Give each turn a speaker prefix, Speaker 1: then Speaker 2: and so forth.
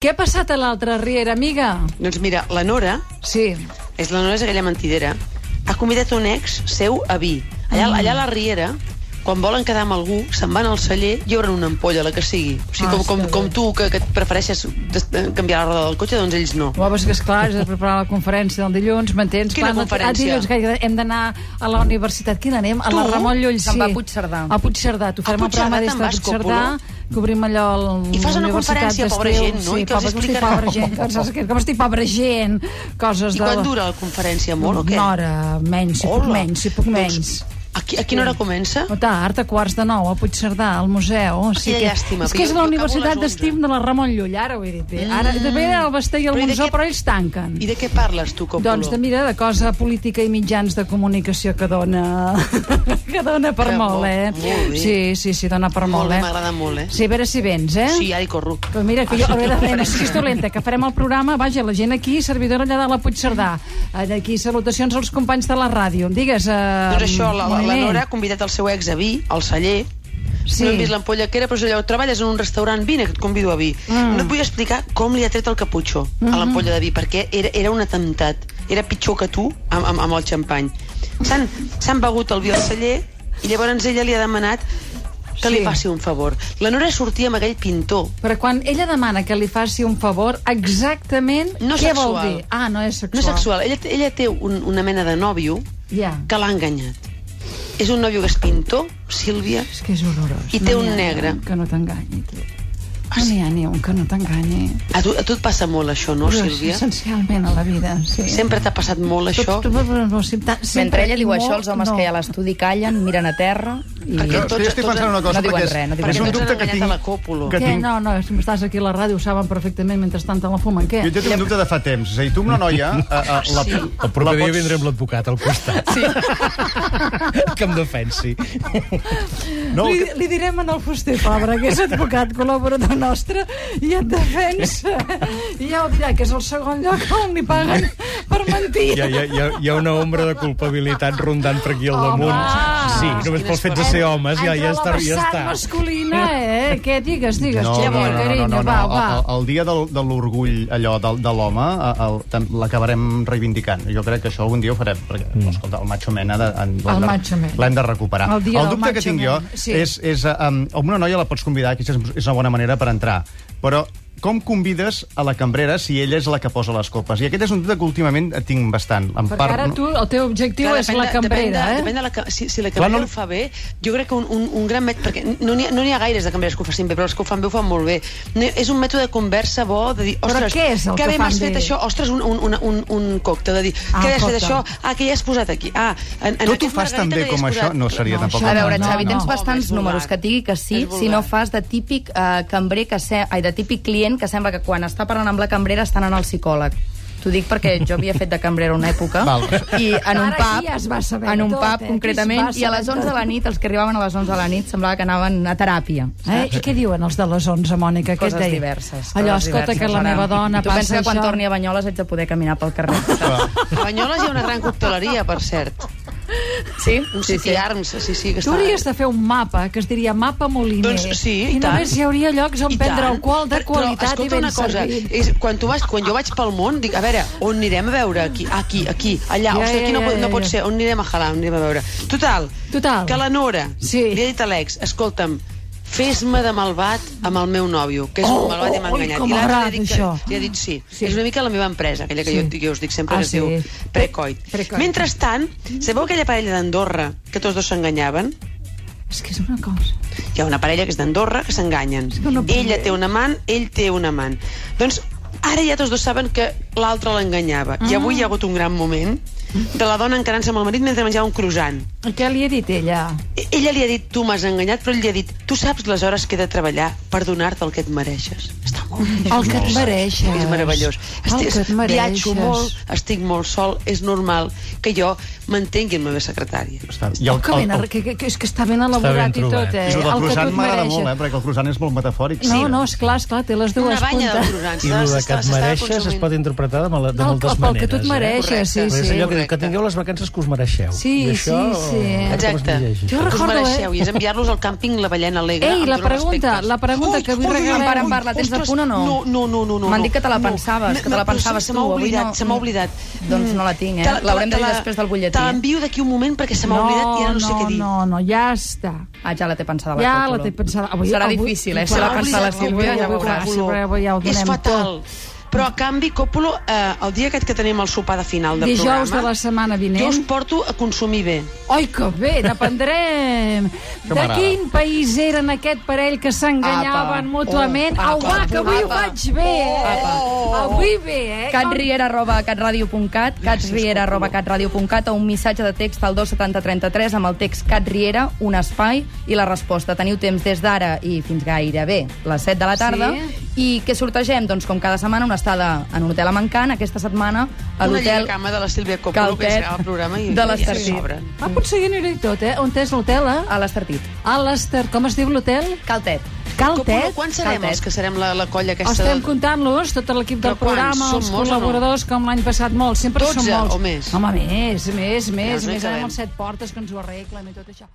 Speaker 1: Què ha passat a l'altra riera, amiga?
Speaker 2: Doncs mira, la Nora,
Speaker 1: Sí.
Speaker 2: és la Nora és aquella mentidera, ha convidat un ex seu a vi. Allà,
Speaker 1: Mm.
Speaker 2: allà a la Riera, quan volen quedar amb algú, se'n van al celler i obren una ampolla, la que sigui. O sigui,
Speaker 1: Ah,
Speaker 2: com,
Speaker 1: sí,
Speaker 2: com,
Speaker 1: que
Speaker 2: com
Speaker 1: bé.
Speaker 2: tu, que, que et prefereixes des- eh, canviar la roda del cotxe, doncs ells no.
Speaker 1: Ho veus que, esclar, has de preparar la conferència del dilluns, m'entens?
Speaker 2: Quina
Speaker 1: Clar, no-
Speaker 2: conferència?
Speaker 1: Ah, dilluns, que hem d'anar a la universitat. Quina anem? A la
Speaker 2: Tu?
Speaker 1: Ramon Llull, sí.
Speaker 3: Se'n va a Puigcerdà.
Speaker 1: A Puigcerdà. Tu farem el
Speaker 2: Puigcerdà
Speaker 1: programa
Speaker 2: te'n
Speaker 1: des de
Speaker 2: vas,
Speaker 1: Puigcerdà, que obrim allò a la
Speaker 2: I fas una
Speaker 1: universitat
Speaker 2: conferència,
Speaker 1: d'estiu.
Speaker 2: pobra gent, no?
Speaker 1: Sí,
Speaker 2: I que els
Speaker 1: pobra, com estic
Speaker 2: expliquen-
Speaker 1: pobra gent, com saps que- com estic pobra gent, coses
Speaker 2: I
Speaker 1: Doncs de...
Speaker 2: quan dura la conferència, molt, o què?
Speaker 1: Una hora, menys, si puc
Speaker 2: Hola.
Speaker 1: menys, si puc menys. Doncs
Speaker 2: Doncs, a, qui, a quina hora comença?
Speaker 1: O tard, a quarts de nou, a Puigcerdà, al museu. O sigui
Speaker 2: Quina llàstima,
Speaker 1: És
Speaker 2: però
Speaker 1: que és la
Speaker 2: jo- jo acabo a les
Speaker 1: Universitat
Speaker 2: 11.
Speaker 1: d'Estim de la Ramon Llull, ara ho he dit bé. Ara, també era el Basté i el
Speaker 2: Però i de
Speaker 1: Monzó,
Speaker 2: què-
Speaker 1: però ells tanquen.
Speaker 2: I de què parles tu, Copoló?
Speaker 1: Doncs de, mira, de cosa política i mitjans de comunicació que dona, que dona per
Speaker 2: Que
Speaker 1: molt,
Speaker 2: bo,
Speaker 1: eh?
Speaker 2: molt bé.
Speaker 1: sí, sí, sí, dona per
Speaker 2: Molt
Speaker 1: molt,
Speaker 2: bé,
Speaker 1: eh?
Speaker 2: m'agrada molt, eh?
Speaker 1: Sí, a veure si vens, eh?
Speaker 2: Sí, ara hi corro.
Speaker 1: Però mira, que jo
Speaker 2: Ah,
Speaker 1: hauré de fer, no
Speaker 2: conferència.
Speaker 1: siguis dolenta, que farem el programa, vaja, la gent aquí, servidora allà de la Puigcerdà. Allà Aquí, salutacions als companys de la ràdio. Em digues... Eh,
Speaker 2: Doncs això, la, la, la
Speaker 1: Moliner.
Speaker 2: Nora ha convidat el seu ex a vi, al celler,
Speaker 1: Sí.
Speaker 2: Sí. No hem vist l'ampolla que era, però és allò, treballes en un restaurant, vine, que et convido a vi.
Speaker 1: Mm. Mm-hmm.
Speaker 2: Mm. No et vull explicar com li ha tret el caputxo a l'ampolla de vi, perquè era, era un atemptat. Era pitjor que tu amb, amb, amb el xampany. S'han s'han begut el vi al celler i llavors ella li ha demanat que
Speaker 1: Sí.
Speaker 2: li faci un favor. La Nora sortia amb aquell pintor,
Speaker 1: Però quan ella demana que li faci un favor, exactament
Speaker 2: no
Speaker 1: què
Speaker 2: sexual.
Speaker 1: vol dir? Ah, no és sexual.
Speaker 2: No és sexual. Ella, ella té un, una mena de nòvio
Speaker 1: Ja.
Speaker 2: que l'ha enganyat. És un nòvio que és pintor, Sílvia,
Speaker 1: És que és horrorós.
Speaker 2: I té
Speaker 1: n'hi
Speaker 2: un
Speaker 1: ha ni
Speaker 2: negre. Ah,
Speaker 1: un Que no t'enganyi, tu. No n'hi ha ni un que no t'enganyi.
Speaker 2: A tu, a tu et passa molt això, no,
Speaker 1: Però és
Speaker 2: Sílvia?
Speaker 1: Essencialment a la vida, sí.
Speaker 2: Sempre t'ha passat
Speaker 1: Tot-
Speaker 2: molt això?
Speaker 1: tot- no, sí, tant- sempre
Speaker 3: Mentre ella diu
Speaker 1: i
Speaker 3: això,
Speaker 1: molt,
Speaker 3: els homes que hi ha a l'estudi callen, miren a terra i...
Speaker 2: Perquè
Speaker 4: Jo,
Speaker 2: tots-
Speaker 4: tots, estic
Speaker 2: tots-
Speaker 4: pensant en una cosa,
Speaker 3: no diuen
Speaker 4: perquè és,
Speaker 3: res, no diuen
Speaker 4: és un
Speaker 3: res.
Speaker 4: dubte que
Speaker 2: Ens han enganyat
Speaker 4: tinc...
Speaker 2: a la còpula.
Speaker 4: Que
Speaker 1: Què?
Speaker 4: tinc
Speaker 1: No, no, si estàs aquí a la ràdio ho saben perfectament mentrestant telefonen. Què?
Speaker 4: Jo tinc un dubte de fa temps. És a dir, tu amb la noia... A, a, la, sí.
Speaker 5: El proper dia vindré amb l'advocat al costat. Sí. que em defensi.
Speaker 4: No,
Speaker 1: li,
Speaker 4: que-
Speaker 1: li direm en el Fuster Fabra, que és advocat col·laborador nostre i et defensa. I ja ho dirà, que és el segon lloc on li paguen per mentir.
Speaker 5: Hi ha, hi, ha, hi ha- hi ha una ombra de culpabilitat rondant per aquí al
Speaker 1: Home! Ah,
Speaker 5: damunt. Sí, només pel fet de ser homes ja, ja,
Speaker 1: Entra
Speaker 5: està,
Speaker 1: la
Speaker 5: ja
Speaker 1: vessant
Speaker 5: està.
Speaker 1: masculina, eh? Què digues, digues,
Speaker 4: No, no,
Speaker 1: Xavier,
Speaker 4: no, no, no,
Speaker 1: carinyo,
Speaker 4: no, no.
Speaker 1: va,
Speaker 4: El,
Speaker 1: va.
Speaker 4: el, el dia del, de l'orgull allò de, de l'home a- el- tam- l'acabarem reivindicant. Jo crec que això algun dia ho farem, perquè, mm. escolta, el macho man ha de- en- l'hem de-
Speaker 1: macho man.
Speaker 4: l'hem de recuperar.
Speaker 1: El dia del
Speaker 4: dubte
Speaker 1: macho
Speaker 4: que tinc
Speaker 1: man,
Speaker 4: jo
Speaker 1: sí.
Speaker 4: és, és eh, um, amb una noia la pots convidar, que és, és una bona manera per entrar, però com convides a la cambrera si ella és la que posa les copes? I aquest és un dubte que últimament tinc bastant. En
Speaker 1: Perquè ara tu, el teu objectiu
Speaker 2: Clar,
Speaker 1: és la
Speaker 2: de-
Speaker 1: cambrera,
Speaker 2: depèn de,
Speaker 1: eh?
Speaker 2: Depèn de la, ca- si, si la cambrera
Speaker 4: Clar,
Speaker 2: ho
Speaker 4: no-
Speaker 2: fa bé, jo crec que un, un, un gran mètode... Perquè no n'hi ha, no n'hi ha gaires de cambreres que ho facin bé, però els que ho fan bé ho fan molt bé. No, és un mètode de conversa bo, de dir...
Speaker 1: Però
Speaker 2: Ostres,
Speaker 1: què és el que
Speaker 2: bé
Speaker 1: fan
Speaker 2: m'has
Speaker 1: bé?"
Speaker 2: fet això? Ostres, un, un, un, un, un còctel, de dir...
Speaker 1: Ah,
Speaker 2: Ah, que has fet
Speaker 1: còctel.
Speaker 2: això? Ah, que ja has posat aquí. Ah, en, en
Speaker 4: Tot ho
Speaker 2: aquest
Speaker 4: fas tan
Speaker 2: margarita
Speaker 4: bé
Speaker 2: que hi
Speaker 4: com
Speaker 2: has
Speaker 4: això
Speaker 2: posat.
Speaker 4: no seria
Speaker 1: No,
Speaker 4: tampoc...
Speaker 1: això
Speaker 3: A veure,
Speaker 1: No,
Speaker 3: Xavi,
Speaker 1: no.
Speaker 3: tens
Speaker 2: Home, és
Speaker 3: bastants
Speaker 2: vulgar.
Speaker 3: números que et digui que sí,
Speaker 2: És vulgar.
Speaker 3: si no fas de típic eh, cambrer que se... Ai, de típic client que sembla que quan està parlant amb la cambrera està anant al psicòleg. T'ho dic perquè jo havia fet de cambrera una època
Speaker 4: Val.
Speaker 3: i en un
Speaker 1: Ara
Speaker 3: pub,
Speaker 1: aquí ja es va saber
Speaker 3: en un
Speaker 1: tot, eh?
Speaker 3: pub
Speaker 1: Aquí es va
Speaker 3: concretament, i a les
Speaker 1: saber
Speaker 3: 11 de la nit, els que arribaven a les 11 de la nit semblava que anaven a teràpia.
Speaker 1: Eh? I què diuen els de les 11, Mònica? Què et
Speaker 3: Coses
Speaker 1: deien?
Speaker 3: diverses.
Speaker 1: Allò,
Speaker 3: coses
Speaker 1: escolta,
Speaker 3: diverses,
Speaker 1: que la
Speaker 3: ara.
Speaker 1: meva dona
Speaker 3: tu pensa
Speaker 1: passa
Speaker 3: que quan
Speaker 1: això...
Speaker 3: torni a Banyoles haig de poder caminar pel carrer. saps?
Speaker 2: A Banyoles hi ha una gran cocteleria, per cert.
Speaker 3: Sí,
Speaker 2: Un sí, City sí. Arms, sí, sí, que
Speaker 1: Tu
Speaker 2: està...
Speaker 1: hauries de fer un mapa que es diria mapa moliner.
Speaker 2: Doncs sí, i tant.
Speaker 1: només hi hauria llocs on
Speaker 2: I
Speaker 1: prendre
Speaker 2: tant.
Speaker 1: el qual de
Speaker 2: Però,
Speaker 1: qualitat
Speaker 2: escolta
Speaker 1: i ben
Speaker 2: una cosa, Eh,
Speaker 1: servit.
Speaker 2: És, quan, tu vas, quan jo vaig pel món, dic, a veure, on anirem a veure? Aquí, aquí, aquí, allà,
Speaker 1: Ja,
Speaker 2: ja, ostres, aquí
Speaker 1: ja,
Speaker 2: no, pot,
Speaker 1: ja,
Speaker 2: no pot
Speaker 1: ja.
Speaker 2: ser, on anirem a jalar, on anirem a veure? Total,
Speaker 1: Total.
Speaker 2: que la Nora
Speaker 1: Sí.
Speaker 2: li ha dit a l'ex, escolta'm, fes-me de malvat amb el meu nòvio, que és
Speaker 1: Oh,
Speaker 2: un malvat i m'ha
Speaker 1: ui,
Speaker 2: enganyat.
Speaker 1: com
Speaker 2: I l'altre li ha
Speaker 1: m'agrada
Speaker 2: dit que-
Speaker 1: això.
Speaker 2: Li ha dit sí.
Speaker 1: Sí.
Speaker 2: sí. És una mica la meva empresa, aquella que
Speaker 1: Sí.
Speaker 2: sí. jo, jo us dic sempre
Speaker 1: Ah,
Speaker 2: que es
Speaker 1: sí.
Speaker 2: diu precoit.
Speaker 1: Precoit.
Speaker 2: Mentrestant, sabeu aquella parella d'Andorra que tots dos s'enganyaven?
Speaker 1: És que és una cosa...
Speaker 2: Hi ha una parella que és d'Andorra que s'enganyen.
Speaker 1: que no puc
Speaker 2: Ella
Speaker 1: dir.
Speaker 2: té un amant, ell té un amant. Doncs ara ja tots dos saben que l'altre l'enganyava.
Speaker 1: Ah.
Speaker 2: I avui hi ha hagut un gran moment de la dona encarant-se amb el marit mentre menjava un croissant.
Speaker 1: I Què li he dit ella?
Speaker 2: E- Ella li ha dit, tu m'has enganyat, però ell li ha dit, tu saps les hores que he de treballar per donar-te el que et mereixes. Està molt bé.
Speaker 1: El que et mereixes.
Speaker 2: És meravellós.
Speaker 1: El que et mereixes.
Speaker 2: viatjo molt, estic molt sol, és normal que jo mantengui amb la meva secretària.
Speaker 4: Està bé. I
Speaker 1: I
Speaker 4: el-
Speaker 1: el, que,
Speaker 4: el-
Speaker 1: ben,
Speaker 4: el-
Speaker 1: que, que, que, és que està ben elaborat i
Speaker 5: trobat.
Speaker 1: tot, eh?
Speaker 4: I el del
Speaker 1: que tu
Speaker 4: croissant
Speaker 1: et
Speaker 4: m'agrada
Speaker 1: mereixes.
Speaker 4: molt, eh, perquè el croissant és molt metafòric.
Speaker 1: No, no, esclar, esclar, té les dues
Speaker 2: Una banya de
Speaker 1: puntes.
Speaker 2: croissants.
Speaker 5: I el
Speaker 2: s'està-
Speaker 5: que et
Speaker 2: s'està
Speaker 5: mereixes es
Speaker 2: consumint.
Speaker 5: pot interpretar de, mala- de
Speaker 1: Del-
Speaker 5: moltes
Speaker 1: pel
Speaker 5: maneres.
Speaker 1: que tu et mereixes,
Speaker 2: eh?
Speaker 1: sí, sí.
Speaker 5: Perquè és allò que diu que
Speaker 2: Correcte.
Speaker 5: tingueu les vacances que us mereixeu.
Speaker 1: Sí,
Speaker 5: I això,
Speaker 1: sí, sí.
Speaker 5: eh, com es
Speaker 2: Exacte.
Speaker 5: llegeix,
Speaker 1: Jo
Speaker 5: això?
Speaker 2: Que us
Speaker 1: recordo, eh?
Speaker 2: mereixeu, i és enviar-los al càmping La Ballena Alegre.
Speaker 1: Ei,
Speaker 2: amb
Speaker 1: la
Speaker 2: tots els
Speaker 1: pregunta,
Speaker 2: respectes.
Speaker 1: la pregunta que avui regalem.
Speaker 3: Empar, Empar, la tens a
Speaker 2: ostres,
Speaker 3: punt o
Speaker 2: No,
Speaker 3: no?
Speaker 2: no, no. no, no.
Speaker 3: M'han dit que te la
Speaker 2: No.
Speaker 3: pensaves, que te la
Speaker 2: No, però
Speaker 3: pensaves
Speaker 2: se m'ha
Speaker 3: tu, avui
Speaker 2: oblidat,
Speaker 3: no.
Speaker 2: Se m'ha oblidat. Mm.
Speaker 3: Doncs no la tinc, eh?
Speaker 2: Te la- te
Speaker 3: L'haurem de
Speaker 2: te
Speaker 3: dir
Speaker 2: la-
Speaker 3: després del butlletí.
Speaker 2: Te l'envio d'aquí un moment perquè se m'ha oblidat i ara no, sé què dir.
Speaker 1: No, no, ja està.
Speaker 3: Ah, ja la té pensada la
Speaker 1: Ja
Speaker 3: Coco.
Speaker 1: la té pensada. Avui-
Speaker 3: Serà
Speaker 1: avui-
Speaker 3: difícil, eh?
Speaker 1: Se
Speaker 3: Si
Speaker 2: Clar,
Speaker 3: la
Speaker 1: Clar,
Speaker 3: pensa la
Speaker 1: avui-
Speaker 3: Sílvia,
Speaker 1: avui-
Speaker 3: ja veuràs.
Speaker 1: avui- avui ja ho
Speaker 2: és
Speaker 1: donem
Speaker 2: fatal. Però, a canvi, Còpolo, eh, el dia aquest que tenim el sopar de final del
Speaker 1: Dijous
Speaker 2: programa...
Speaker 1: de la setmana vinent.
Speaker 2: Jo us porto a consumir bé.
Speaker 1: Oi, que bé, n'aprendrem. De
Speaker 4: m'agrada.
Speaker 1: quin país eren aquest parell que
Speaker 3: Apa.
Speaker 1: s'enganyaven mútuament?
Speaker 3: Oh,
Speaker 1: Au, va,
Speaker 3: apa.
Speaker 1: que avui ho
Speaker 3: Apa.
Speaker 1: faig bé, eh? Avui bé, eh?
Speaker 3: catriera arroba catradio.cat catriera arroba catradio.cat o un missatge de text al 27033 amb el text catriera, un espai i la resposta. Teniu temps des d'ara i fins gairebé les 7 de la tarda i què sortegem? Doncs com cada setmana una estada en un hotel a Mancant, aquesta setmana a
Speaker 2: Una
Speaker 3: l'hotel
Speaker 2: lligacama de la Sílvia Còpolo, que
Speaker 3: Calpet
Speaker 2: serà el programa i
Speaker 3: de
Speaker 2: ja
Speaker 3: l'Estartit.
Speaker 2: s'obre.
Speaker 1: Ah, potser jo aniré i tot, eh? On és l'hotel, eh?
Speaker 2: Ah.
Speaker 3: a l'Estartit.
Speaker 1: A l'Ester, com es diu l'hotel?
Speaker 3: Caltet.
Speaker 1: Caltet?
Speaker 2: Quan serem
Speaker 3: Caltet.
Speaker 2: els que serem la, la colla aquesta?
Speaker 1: Estem
Speaker 2: de-
Speaker 1: comptant-los, tot l'equip del
Speaker 2: Però quants?
Speaker 1: programa,
Speaker 2: Són
Speaker 1: els
Speaker 2: molts o no?
Speaker 1: col·laboradors, com l'any passat molts. Sempre són
Speaker 2: 12
Speaker 1: molts.
Speaker 2: o més?
Speaker 1: Home, més, més, més.
Speaker 2: no hi
Speaker 1: més,
Speaker 2: cabem.
Speaker 1: amb set portes que ens ho arreglen i tot això.